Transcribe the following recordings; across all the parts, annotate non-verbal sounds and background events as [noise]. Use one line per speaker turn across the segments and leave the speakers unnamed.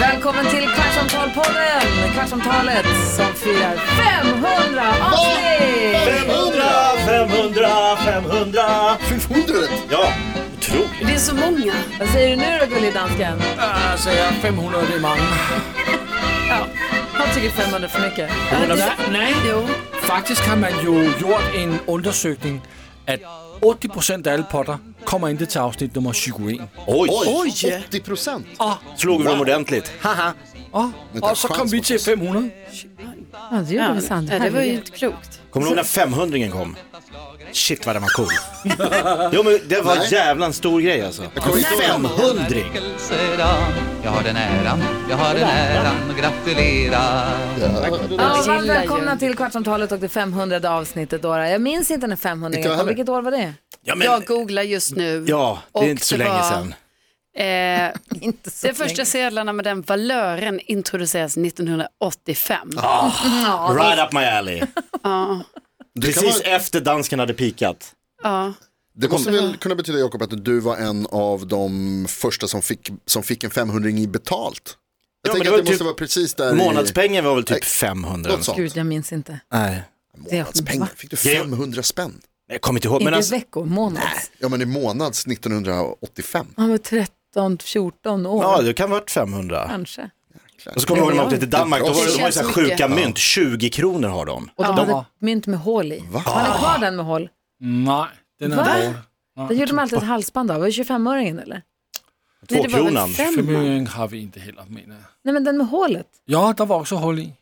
Välkommen till Kvartsamtalpodden! Kvartsamtalet som firar 500 avsnitt!
500, 500, 500.
500 rätt.
Ja, otroligt.
Det är så många.
Vad säger du nu då, gullig dansken?
Jag säger 500 rimang.
Ja, han tycker 500 är för mycket.
Nej,
Jo.
faktiskt har man ju gjort en undersökning att 80 procent av alla poddar kommer inte till avsnitt nummer 21.
Oj,
Oj, 80 procent.
slog vi dem ordentligt. Haha.
Ja,
Inte en
och så kom
chans
vi
mot
till
oss.
500.
Ja, det gjorde vi sant.
Ja, det var ju
Herregud.
inte klokt.
Kommer du ihåg när 500 kom? Shit vad den var
[laughs]
cool. jo men det var
Nej.
jävla en stor grej alltså.
kommer inte ihåg.
500!
Jag har den äran, jag har den äran, gratulera.
Ja,
Gillar
varmt
ju.
välkomna till Kvartsamtalet och det 500 avsnittet. Dora. Jag minns inte när 500
Inte
kom.
jag heller.
Vilket år var det?
Ja, men,
Jag googlar just nu.
ja det
Och
är inte så
det
länge
var-
sedan.
Eh,
Inte så
de första sedlarna med den valören introduceras 1985.
Right up my alley.
Ja.
Precis efter dansken hade pikat.
ja.
Det måste väl kunna betyda Jakob att du var en av de första som fick, som fick en 500 i betalt. Jag
Ja, men
tänker
det var
att det måste
typ
vara precis där i...
Månadspengen var väl typ
Nej.
500.
Något sånt.
Gud, jag minns inte.
Nej.
Månadspengar, fick du 500 spänn?
Jag kommer inte ihåg. Alltså, Men
Inte
alltså,
veckor, månads.
Ja men i månads 1985.
Han var 13, 14 år
ja, det kan ha varit 500.
kanske.
Och så kommer jag ihåg när man åkte till Danmark, då var det, de har ju så här
Det känns
sjuka mynt, 20 kronor har de.
Och de
Ja.
hade mynt med hål i. Har ni kvar den med hål?
Nej, den är
Va?
borta.
Det gjorde de alltid ett halsband av. Var det 25-öringen eller?
Nej, det var väl
Tvåkronan.
fem.
Femöring har vi inte heller menar jag.
Nej, men den med hålet.
Ja, det var också hål i.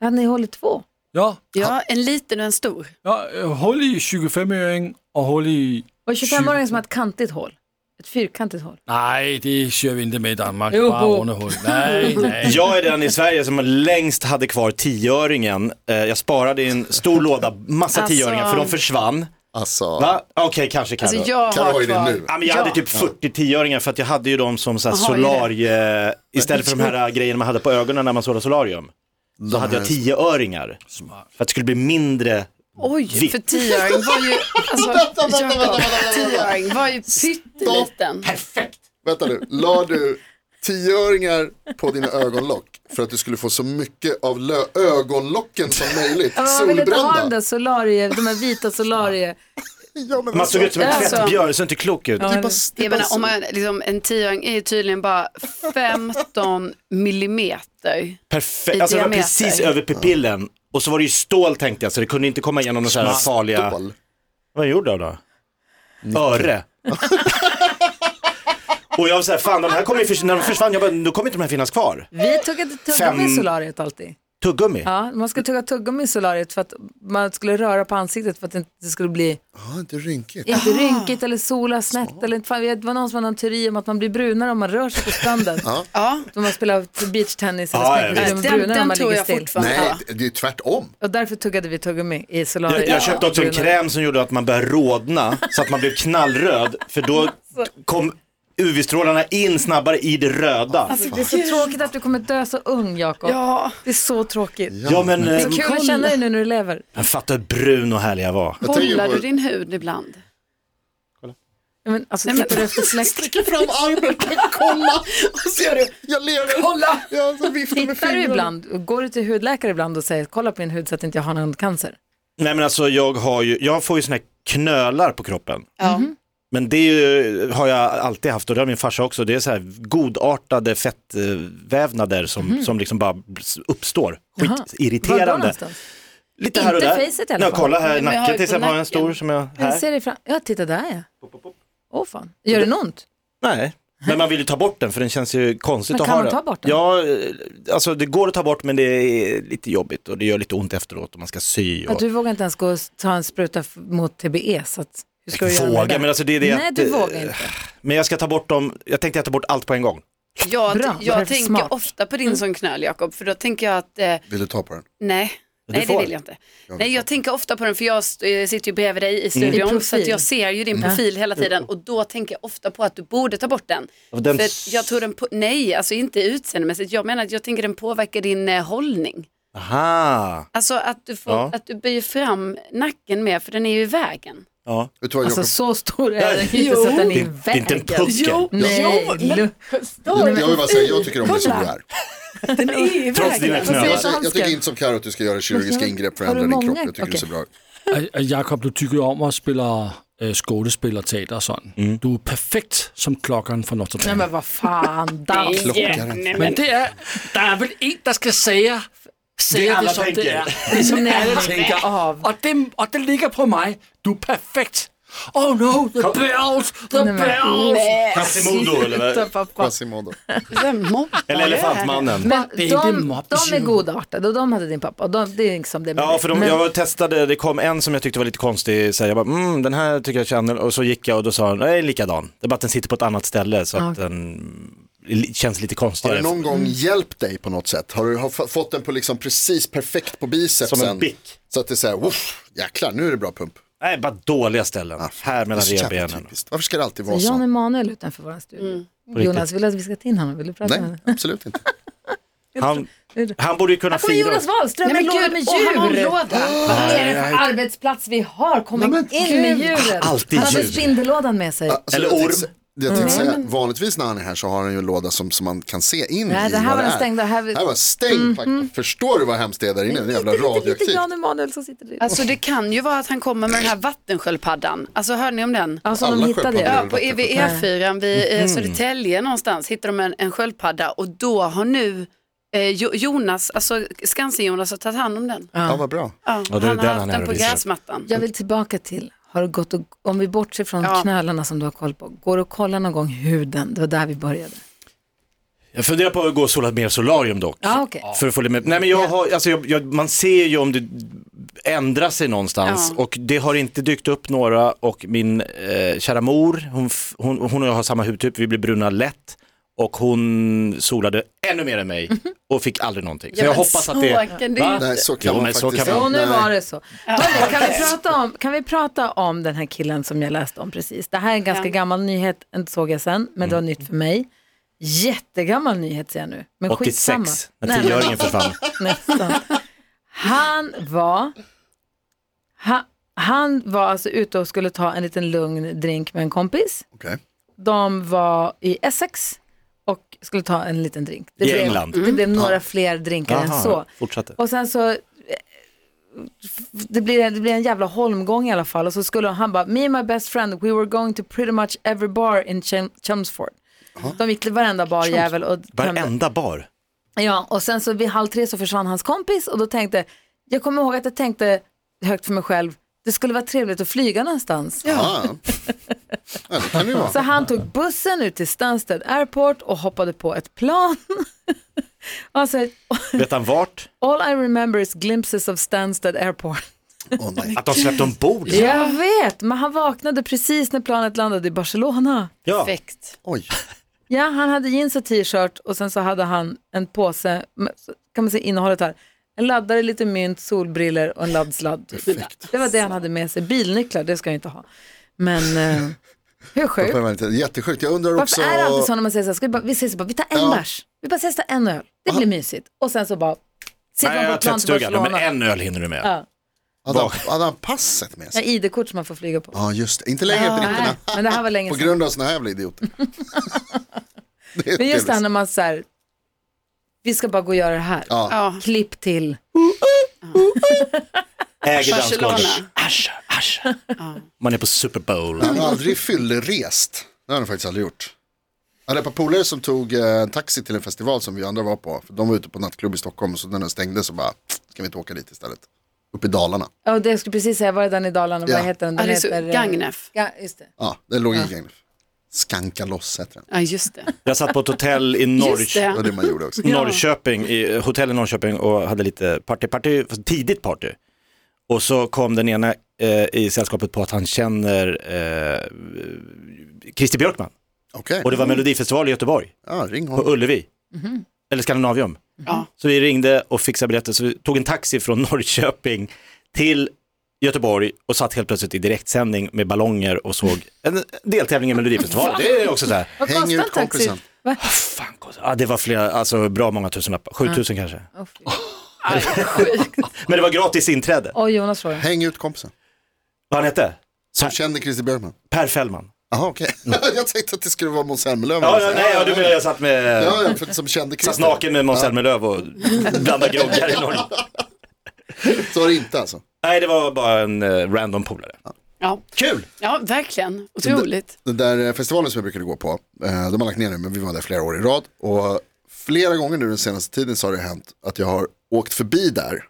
Hade ni hål i två?
Ja,
Ja, en liten och en stor.
ja eh, hål i 25-öring och hål i...
Var det 25-öringen som hade ett kantigt hål? Ett fyrkantigt hål?
Nej, det kör vi inte med i Danmark.
Jo.
Bara runda hål. Nej, nej.
Jag är den i Sverige som längst hade kvar tioöringen. Eh, Jag sparade i en stor låda, massa
Alltså-
tioöringar för de försvann.
Alltså,
Va? Okej, kanske kan
Alltså
du.
jag
Carro har
har
ju det
kvar.
nu.
Ja, men jag hade typ 40 tioöringar för att jag hade ju dem som så här
Jaha, är det?
solarie, istället för de här eh, grejerna man hade på ögonen när man sålade solarium. Då hade jag tioöringar. För att det skulle bli mindre,
Oj,
Vitt.
för tioöring var ju,
[laughs] Vänta, vänta,
alltså,
vänta, vänta,
Jakob,
vänta.
tioöring var ju pytteliten.
Vänta nu, la du tioöringar på dina ögonlock för att du skulle få så mycket av lö- ögonlocken som möjligt
Ja, men man ville inte ha den där solarie, de här vita solarie.
Ja, men
man såg ut som en
Alltså-
tvättbjörn, det såg inte klok ut.
det är bara, det är
Jag
bara
menar,
så.
om man, liksom, en tioöring är ju tydligen bara 15 millimeter.
Perfekt,
I
alltså det var
diameter.
precis över pupillen. Och så var det ju stål tänkte jag, så det kunde inte komma igenom någon sån här farliga...
Stål.
Vad är jag gjord av då? Öre. [laughs] och jag var såhär, fan de här kommer ju försvinna, när de försvann, jag bara, nu kommer inte de här finnas kvar.
[laughs] Vi tuggade tuggummi i
Fem-
solariet alltid.
Tuggummi.
Ja, man skulle tugga tuggummi i solariet för att man skulle röra på ansiktet för att det inte skulle bli
Ja, inte rynkigt.
inte rynkigt eller sola snett. Eller, inte- fan, det var någon som hade en teori om att man blir brunare om man rör sig på stranden.
Ja,
Om man spelar beachtennis eller
Ja,
springer,
ja,
så blir
visst.
man
den,
brunare om
den
man
tror
ligger
jag
still.
fortfarande.
Nej,
Ja.
det det är ju tvärtom.
Och därför tuggade vi tuggummi i solariet.
Jag, jag köpte också en
Brunare.
kräm som gjorde att man började rodna så att man blev knallröd för då kom UV-strålarna in snabbare i det röda.
Det är så tråkigt att du kommer dö så ung, Jakob.
Ja,
Det är så tråkigt.
Ja men, eh,
Så kul att känna dig nu när du lever.
men fatta hur brun och härlig jag var.
Jag tänker
kollar
på-
du din hud ibland?
Ja, Men, alltså,
Nej, men-
tittar du efter släkt? [laughs]
Sträcker fram armen, kolla! Ser du? Jag lever! Kolla! Jag så viftar med
Tittar du
fingrarna.
ibland, går du till hudläkare ibland och säger kolla på min hud så att inte jag har någon cancer?
Nej men alltså jag har ju, jag får ju såna här knölar på kroppen.
Ja.
Men det är ju, har jag alltid haft och det har min farsa också. Det är så här godartade fettvävnader som,
Mhm.
som liksom bara uppstår.
Var går du
Skitirriterande.
någonstans?
Lite här och
Inte
där.
facet i alla
Nej,
fall.
kolla här,
Nej, men jag har
nacken till
ju på
exempel har jag en
nacken.
stor som jag,
Jag
här.
ser dig fram. Ja, titta där ja. Åh fan, gör den ont?
Nej. Men man vill ju ta bort den för den känns ju konstigt
Men
att
kan
ha
man ta bort den?
Ja, eh, alltså det går att ta bort men det är lite jobbigt och det gör lite ont efteråt och man ska sy och...
Att du vågar inte ens gå och ta en spruta f- mot TBE så att, hur ska du göra med
Våga,
det?
men alltså det är det
Nej,
att,
du
eh,
vågar inte.
Men jag ska ta bort dem, jag tänkte jag tar bort allt på en gång.
Jag,
Bra, vad är det
jag
för
tänker
smart? Mm.
ofta på din som knöl Jakob, för då tänker jag att eh,
Vill du ta på den?
nej,
Du
nej det
får.
vill jag inte. Nej, jag tänker ofta på den för jag st- eh, sitter ju bredvid
Mm.
dig i studion
I
så att
profil.
jag ser ju din profil hela tiden och då tänker jag ofta på att du borde ta bort den.
Och den
För
s-
jag tror den, på- nej alltså inte utseendemässigt, jag menar att jag tänker den påverkar din eh, hållning.
Aha,
Alltså att du, får,
Ja.
att du böjer fram nacken mer för den är ju i vägen.
Ja.
Vet du vad
Alltså
Jakob?
så stor är den
Jo.
inte så att den
Det,
är
är- det är inte en
vägen.
puckel.
Jo.
Nej,
Jo,
lu-
Förstår
jag vill bara säga, jag tycker om dig som du är.
Den är i
Trots dina
vägen.
knölar.
säger
Jag, jag
handsken?
tycker inte som Karo att du ska göra kirurgiska ingrepp för att
Har du
ändra din
många?
kropp. Jag tycker det ser
Okej.
bra ut.
Äh, äh, Jakob, du tycker ju om att spela äh, skådespel och teater och sånt. Du är perfekt som klockan från Notre
Nej
Dame.
men vad fan, dans.
Klockaren.
Mm.
Men det är, det är väl en som ska säga, säga det,
alla
som det
tänker.
är. Det som
Nej,
alla
men
tänker.
av.
Och det, och det ligger på mig. Du är perfekt. Oh no, the bells, the
Nej, men-
bells.
Quasimodo eller
Sluta,
vad?
pappa.
Quasimodo.
Vem mobbar
[laughs] Eller Elefantmannen.
Men de,
Baby
de
mopping.
är godartade och de hade din pappa. Och de, det är liksom det
Ja, för de,
men,
jag testade, det kom en som jag tyckte var lite konstig, så här, jag bara, mm, den här tycker jag känner, och så gick jag och då sa han, nej, likadan. Det är bara att den sitter på ett annat ställe så att den li- känns lite
Har
konstigare.
det någon gång hjälpt dig på något sätt? Har du har f- fått den på liksom precis perfekt på bicepsen?
Som en bick.
Så att det är så här, woof, jäklar, nu är det bra pump.
Nej, bara dåliga ställen. här
Ah, Det är
mellan
så jävla
revbenen.
typiskt. Varför ska det alltid vara
Jan
så?
Emanuel utanför vår studio.
Mm.
Jonas, vill du att vi ska ta in honom? Vill du prata med
Nej,
honom?
absolut inte.
Han, han borde ju kunna
Här kommer
fira.
Jonas Wahlström
Nej,
med
men
Låda
gud,
med
och han har en
djur.
låda.
Vad är det för arbetsplats vi har? Kom in med djuret.
Alltid
han hade
djur.
spindellådan med sig.
Alltså,
Eller
jag
orm.
tänkte sä- Jag
Mm.
tänkte säga, vanligtvis när han är här så har han ju en låda som, som man kan se in
Nej,
i
det här var
vad
Mhm.
det
den
är.
stängda. Här vi-
Här var stängd faktiskt. Förstår du vad hemskt det är där inne? Det är jävla
Lite, lite
radioaktivt.
Jan Emanuel som sitter där.
Alltså det kan ju vara att han kommer med den här vattensköldpaddan. Alltså hörde ni om den?
Ja, som de
alla
hittade
sköldpaddor.
ja.
Ja, på E EVE4 vid
Mm.
eh, Södertälje någonstans hittade de en, en sköldpadda och då har nu eh, Jo- Jonas, alltså Skansen-Jonas har tagit hand om den.
Ja, vad bra.
Ja,
Ja, det är
han
den
har
han
haft den på
hänvisar.
gräsmattan.
Jag vill tillbaka till, har du gått och, om vi bortser från
Ja.
knölarna som du har koll på, går du och kollar någon gång huden? Det var där vi började.
Jag funderar på att gå och sola mer solarium dock.
Ja, okej.
För att få lite mer. Nej men jag har, alltså jag, jag, man ser ju om det ändrar sig någonstans
Ja.
och det har inte dykt upp några och min eh, kära mor, hon, f- hon, hon och jag har samma hudtyp, vi blir bruna lätt och hon solade ännu mer än mig och fick aldrig någonting. Så jag hoppas att det...
Så kan det
Va?
ju-
Nej, så kan
Jo,
man
men så
faktiskt
kan man-
Och nu
Nej.
var det så. Hörrni, kan, vi prata om, kan vi prata om den här killen som jag läste om precis? Det här är en ganska
Ja.
gammal nyhet, en såg jag sen, men det var nytt för mig. Jättegammal nyhet ser jag nu, men
86,
skitsamma.
när tioöringen försvann.
Nästan. Han var, ha, han var alltså ute och skulle ta en liten lugn drink med en kompis.
Okej.
De var i Essex och skulle ta en liten drink. Det
I
blev,
England. Mm.
Det blev några fler drinkar än så.
fortsatte.
Och sen så, eh, f- det blir, det blir en jävla holmgång i alla fall. Och så skulle han bara, me and my best friend, we were going to pretty much every bar in Chelm- Chelmsford. De gick till varenda barjävel och tömde.
Varenda bar.
Ja, och sen så vid halv tre så försvann hans kompis och då tänkte, jag kommer ihåg att jag tänkte högt för mig själv, det skulle vara trevligt att flyga någonstans.
Ah. Ja, det kan det ju vara.
Så han tog bussen ut till Stansted Airport och hoppade på ett plan. [laughs] alltså,
Vet han vart?
all I remember is glimpses of Stansted Airport.
Åh, nej.
Att de släppte ombord.
Jag vet, men han vaknade precis när planet landade i Barcelona.
Ja.
Perfekt.
Oj,
Ja, han hade jeans och t-shirt och sen så hade han en påse, med- så kan man se innehållet här, en laddare, lite mynt, solbriller och en laddsladd. Det var det han hade med sig. Bilnycklar, det ska jag inte ha. Men eh, hur
det
sjukt?
var inte- jättesjukt. Jag undrar också...
Varför är det alltid så när man säger så här, ska vi, bara, vi ses bara, vi tar en
Ja.
bärs, vi bara ses ta en öl, det blir mysigt. Och sen så bara, sitter
Nej,
man på
jag har
ett plan till
tvättstugan, men
Barcelona.
en öl hinner du med.
Ja.
Hade han, hade han passet med
Ja,
sig?
ID-kort som man får flyga på.
Ja, just det. Inte längre britterna.
Nej, men det här var länge
På
sedan.
grund av såna här jävla idioter. [laughs] Det är
Men just det här
trevligt.
när man så här, vi ska bara gå och göra det här.
Ja,
Ja,
Klipp till.
Äger
Barcelona.
dansgolvet. Asha, asha. Man är på Super Bowl.
han har aldrig fyllerest. Det har han faktiskt aldrig gjort. Jag hade ett par polare som tog eh, en taxi till en festival som vi andra var på. För de var ute på nattklubb i Stockholm så när den stängde så bara, ska vi inte åka dit istället? Upp i Dalarna.
Ja, det jag skulle precis säga, var det den i Dalarna,
Ja.
vad heter den?
ja
den
det är så,
heter, eh,
Gagnef.
Ja, just det.
Ja, det låg i Gagnef. Skanka loss heter den.
Ja, just det.
Jag satt på ett hotell i
Just
Norrköping.
Det var
det.
det man gjorde också.
Norrköping, i hotell i Norrköping och hade lite party, party, fast tidigt party. Och så kom den ena eh, i sällskapet på att han känner eh, Christer Björkman.
Okej,
Och det var Melodifestival i Göteborg,
ja, ring
på
honom.
Ullevi. Eller Scandinavium.
Ja.
Så vi ringde och fixade biljetter, så vi tog en taxi från [laughs] Norrköping till Göteborg och satt helt plötsligt i direktsändning med ballonger och såg en deltävling i Melodifestivalen. Det är också så här.
Vad
Häng
kostar
ut
en taxi?
kompisen.
Va?
Fan, kost- ja, det var flera, alltså bra många tusenlappar, 7000 kanske.
Åh, fy.
Men det var gratis inträde.
Åh, Jonas frågar.
Häng ut kompisen.
Vad han hette?
Som känner Christer Björkman?
Per Fällman.
Jaha, okej. [laughs] jag tänkte att det skulle vara Måns Zelmerlöw.
Mm. Ja, ja, nej, ja, du menar jag satt med...
Ja, ja, för, som kände
Satt
Christer.
naken med Måns Zelmerlöw och blandade groggar i [laughs] Norge.
Så var det inte alltså.
Nej, det var bara en eh, random polare.
Ja,
Kul!
ja verkligen. Otroligt.
Den där eh, festivalen som jag brukade gå på, eh, de har lagt ner nu men vi var där flera år i rad. Och flera gånger nu den senaste tiden så har det hänt att jag har åkt förbi där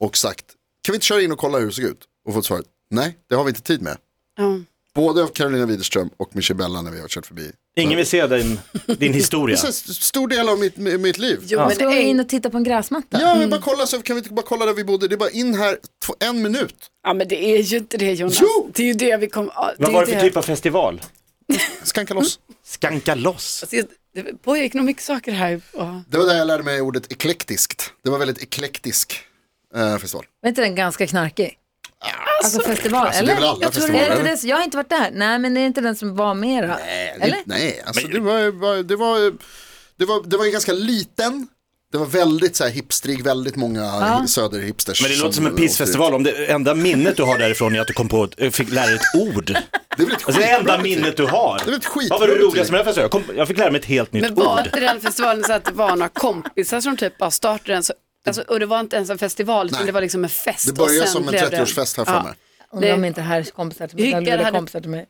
och sagt, kan vi inte köra in och kolla hur det såg ut? Och fått svaret, nej det har vi inte tid med.
Ja.
Både av Carolina Widerström och Michelle Bella när vi har kört förbi.
Ingen vill se din, din [laughs] historia.
Det är en stor del av mitt, mitt liv.
Jo, men
Ska vi
en,
in och titta på en gräsmatta?
Ja, men bara kolla, så kan vi inte bara kolla där vi bodde? Det är bara in här, två, en minut.
ja, men det är ju inte det Jonas.
Jo!
Det är ju det vi kom... Ja,
Vad
är
var det för
det.
typ av festival?
Skanka loss.
Skanka loss.
Alltså, Det pågick nog mycket saker här. Ja.
Det var där jag lärde mig ordet eklektiskt. Det var väldigt eklektisk eh, festival.
Var inte den ganska knarkig? Alltså, festival,
Alltså, det
eller?
är väl alla
jag, tror det,
festivaler,
är det
eller?
inte det, jag har inte varit där. Nej, men det är inte den som var mera. eller?
Nej, alltså det, var, var- det, var, det, var, det var ju ganska liten. Det var väldigt så här hipstrig, väldigt många hi- söderhipsters.
Men det låter som en pissfestival om det enda minnet du har därifrån är att du kom på, ett- fick lära dig ett ord.
Det är väl ett
Alltså det
skitbra
enda
betyg.
minnet du har.
Det är ett skitbra
Vad var det
betyg.
roligaste med den festivalen? Jag, kom, jag fick lära mig ett helt nytt
Men var
ord.
inte den festivalen så att det var några kompisar som typ bara startade den? Så, alltså, och det var inte ens en festival utan
Nej.
det var liksom en fest.
Det började
och sen
som en
blev det-
30-årsfest här för mig.
Undrar om
Det-
inte här är kompisar till mig.
Rickard
Där lurar
hade-
kompisar till mig.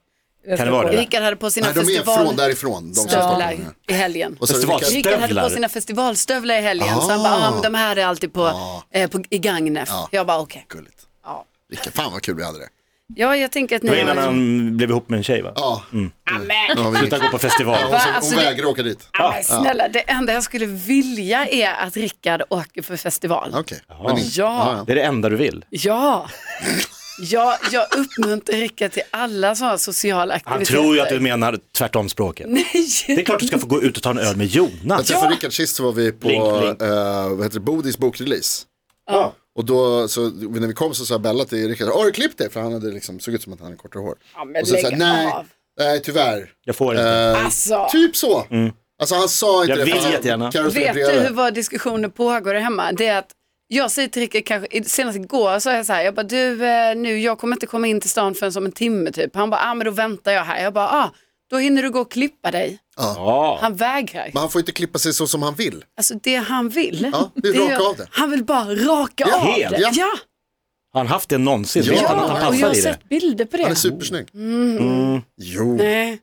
Kan det vara det?
Rickard hade på sina
Nej, de är från
festival...
därifrån, de som startade
stövlar
den här.
i helgen.
Och så är det
Festival.
vilka-
Rickard hade
Stövlar.
på sina festivalstövlar i helgen.
Ah.
Så han bara, ah, men de här är alltid på, eh, på, i Gagnef. Jag bara, okej.
Gulligt.
Ja.
Vilka, fan vad kul vi hade det.
Ja, jag tänker att ni...
Det var innan
har-
han blev ihop med en tjej va?
Ja. Mm. Mm.
Sluta gå på festival.
Hon, som,
Alltså,
hon
det-
vägrar åka dit.
Ja, men snälla, det enda jag skulle vilja är att Rickard åker för festival.
Okej. Men inte-
Ja,
Det är det enda du vill.
ja. Ja, jag uppmuntrar Rickard till alla sådana sociala
Han
aktiviteter.
tror ju att du menar tvärtom språket. Det är
Nej,
klart du ska få gå ut och ta en öl med
Jag
Jonas.
träffade Rickard sist så var vi på
Blink, blink.
eh, vad heter det, Bodis bokrelease. Och då, så, när vi kom så sa Bella till Rickard, har du klippt det? För han hade liksom, såg ut som att han hade kortare hår.
Ja, men
och så
lägg
sa jag, nej,
av.
nej tyvärr.
Jag får inte.
Eh,
alltså.
typ så. Alltså han sa inte
Jag
det. för
vill
han-
jättegärna.
Karo skulle
Vet du
bredvid.
hur våra diskussioner pågår där hemma? Det är att jag säger till Rickard, kanske, i- senast igår sa jag så här, jag bara du eh, nu, jag kommer inte komma in till stan förrän om en timme typ. Han bara, ah men då väntar jag här. Jag bara, ah, då hinner du gå och klippa dig.
Ja.
Han vägrar.
Men han får inte klippa sig så som han vill.
Alltså det han vill,
Ja, det är raka
ju-
av det.
han vill bara raka
Ja,
av
helt.
det.
Ja.
Ja,
Har han haft det någonsin?
Ja,
Vet han att han
ja. och jag
passar
har
i det?
sett bilder på det.
Han är supersnygg.
Mm.
Jo.
Mm. Nej,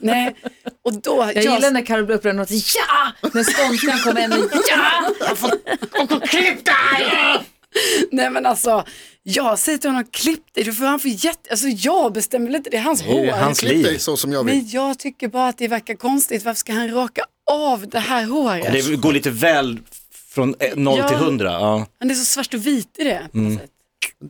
nej. Och då,
Jag gillar när Carro blir upprörd och säger ja! När skånskan kommer in och ja!
Nej men alltså, jag säger till honom klipp dig, du får han får jätte, alltså jag bestämmer väl inte, det är hans hår.
Det är hans
Klipp dig
liv.
så som jag vill.
Men jag tycker bara att det verkar konstigt, varför ska han raka av det här håret? Det
Det går lite väl från eh, noll
Ja.
till hundra. Ja.
Han är så svart och vit i det på något sätt.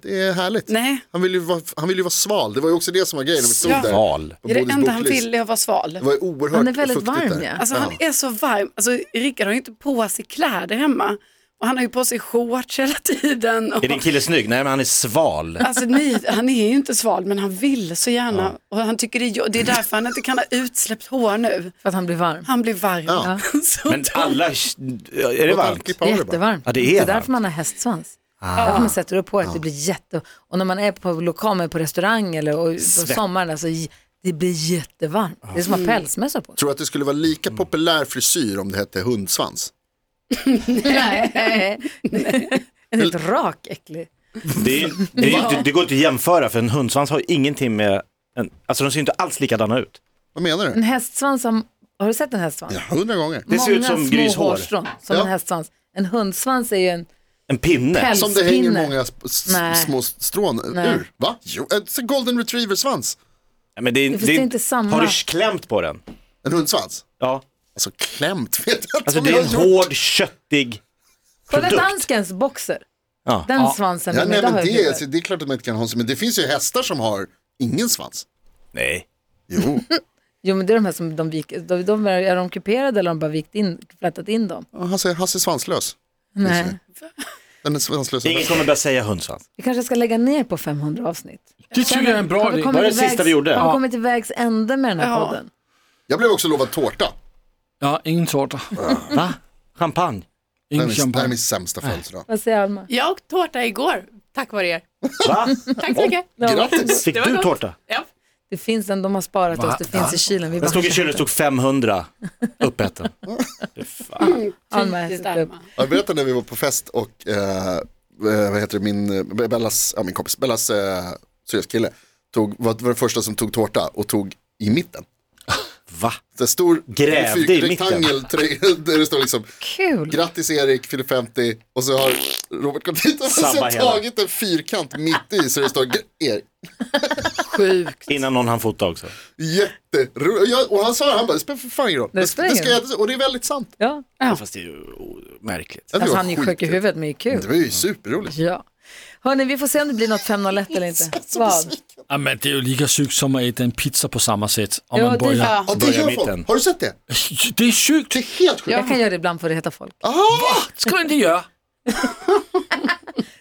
Det är härligt.
Nej,
Han vill, ju vara, han vill ju vara sval. Det var ju också det som var grejen när vi stod
Ja.
där.
Val.
på
det är det
Bodis
enda han
bokrelease.
vill är att vara sval.
Det var ju oerhört
Han är väldigt
fuktigt
varm
där.
ja.
Alltså han är så varm, alltså Rickard har ju inte på sig kläder hemma. Och han har ju på sig shorts hela tiden. Och,
Är din kille snygg? Nej, men han är sval.
Alltså ni, han är ju inte sval men han vill så gärna. Och han tycker det är, jo- det är därför han inte kan ha utsläppt hår nu.
För att han blir varm.
Han blir varm.
Ja.
[laughs] Så
Men alla... Är det
Låt han
varmt?
klippa av det bara.
Jättevarmt.
Ja, det är
därför
varmt. Ah.
man har hästsvans. Därför man sätter upp håret. Det blir jätte... Och när man är på lokal, men på restaurang eller och på
Svett.
sommaren, alltså, j- det blir jättevarmt. Det är som att ha pälsmössa på sig.
Tror du att det skulle vara lika
Mm.
populär frisyr om det hette hundsvans?
Nej. [laughs] En helt rak, äcklig.
Det, är, det, är, inte- det går inte att jämföra för en hundsvans har ju ingenting med... En, alltså de ser ju inte alls likadana ut.
Vad menar
En
Mm.
du?
hästsvans, som, har du sett en hästsvans?
Ja, hundra gånger.
Det ser ut som
små
grishår.
hårstrån som
Ja.
en hästsvans. En hundsvans är ju en
En pinne.
Päls.
Som det hänger
Spinner.
många s- s-
Nej.
små strån
Nej.
ur. Va? Jo, en sån golden retriever svans.
Nej, Men det, är-
Det finns
är-
inte samma.
Har du klämt på den?
En hundsvans.
Ja.
Alltså klämt vet jag inte
Alltså
om
det
jag
är en
har gjort.
hård, köttig...
Kolla
Produkt.
danskens boxer.
Ja.
Den svansen.
Ja,
men
nej,
det
men
har jag
det,
blivit.
alltså, det är klart att man inte kan ha en sån, men det finns ju hästar som har ingen svans.
Nej.
Jo,
Jo men det är de här som de viker, de, de, är är de kuperade eller har de bara vikt in, flätat in dem?
Och Hasse, Hasse är svanslös.
Nej.
Den är svanslös.
Ingen kommer börja säga hundsvans.
Vi kanske ska lägga ner på 500 avsnitt.
Det tycker jag är en bra idé.
kommit
det
till
sista vi gjorde?
Har vi
Ja.
kommit till vägs ände med den här
Ja.
podden?
Jag blev också lovad tårta.
Ja, ingen tårta.
Va? Champagne?
Det här
Ingen
är min, det här är
champagne.
min sämsta födelsedag.
Vad säger Alma?
Jag åt tårta igår Tack vare er.
Va?
Tack så
Mm.
mycket.
Grattis! Fick
Det var
du
gott.
tårta?
Ja.
Det finns en, de har sparat oss, det finns i kylen. Vi
Den
bara
stod i
köpte
kylen, det stod 500
[laughs]
uppäten.
Mm. den. Alma ätit upp.
Jag berättade när vi var på fest och eh, eh, vad heter det, min, eh, Bellas, ja, min kompis, Bellas eh, syrras kille tog, var, var den första som tog tårta och tog i mitten.
Va?
Det stor
Grävde i
fyr-
mitten.
rektangel [laughs] tre- där det står liksom
Kul!
grattis Erik, fyller 50 och så har Robert gått hit och
Sabba
sen
hela.
tagit en fyrkant mitt i så det står "Gr- Erik.
Sjukt.
Innan någon hann fota också.
Jätteroligt. Ja, Och han sa han bara, det spelar för fan ingen roll.
Det
Det
spelar
ska
ingen
jag, inte- och det är väldigt sant.
Ja.
Fast det är ju o- märkligt.
Jag tycker
Alltså
det var
han är ju sjuk i
skitkul.
huvudet men det är
Det
kul.
var ju superroligt.
Ja. Hörni, vi får se om det blir något 501
[laughs]
eller inte.
Så
Vad?
besviken.
Jamen, Ah, det är ju lika sygt som att äta en pizza på samma sätt. Om
Ja,
man
det-
börjar.
Ja.
Ja, det
Börja
gör
mitten.
folk. Har du sett det?
Det är sygt!
Det är helt sjukt.
Jag kan göra det ibland för att heta folk.
Det ska man inte göra.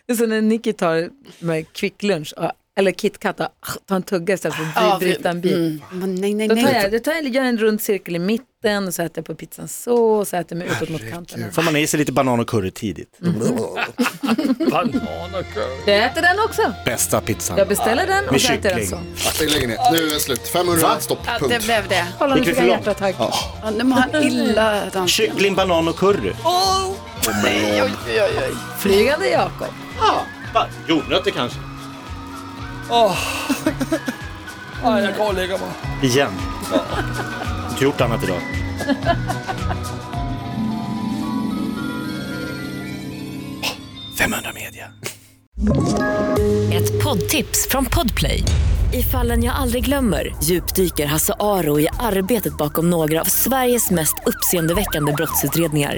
Det är så när Nicky tar med kvicklunch, och- eller KitKat, och ah, tar en tugga istället för att bry- bryta en bit.
Mm. Nej, nej,
Då tar
nej.
jag, då tar jag, gör en rund cirkel i mitten och så äter jag på pizzan så och så äter jag mig utåt mot kanten.
Får man i sig lite banan och curry tidigt.
Jag äter den också.
Bästa pizzan.
Jag beställer den och
Med
så äter jag den så.
kyckling.
Vi lägger ner. Nu är det slut. 500 stopp.
Ja,
Punkt.
det blev det.
Kolla nu
Gick vi
fick
för
jag
långt?
hjärtattack.
Ja, nu mår han illa. Dan.
Kyckling, banan och curry.
Flygande Jakob.
Va? Jordnötter kanske?
Jag går och lägger mig.
Igen. Inte gjort annat idag. Åh, 500 media.
Ett poddtips från Podplay. I fallen jag aldrig glömmer djupdyker Hasse Aro i arbetet bakom några av Sveriges mest uppseendeväckande brottsutredningar.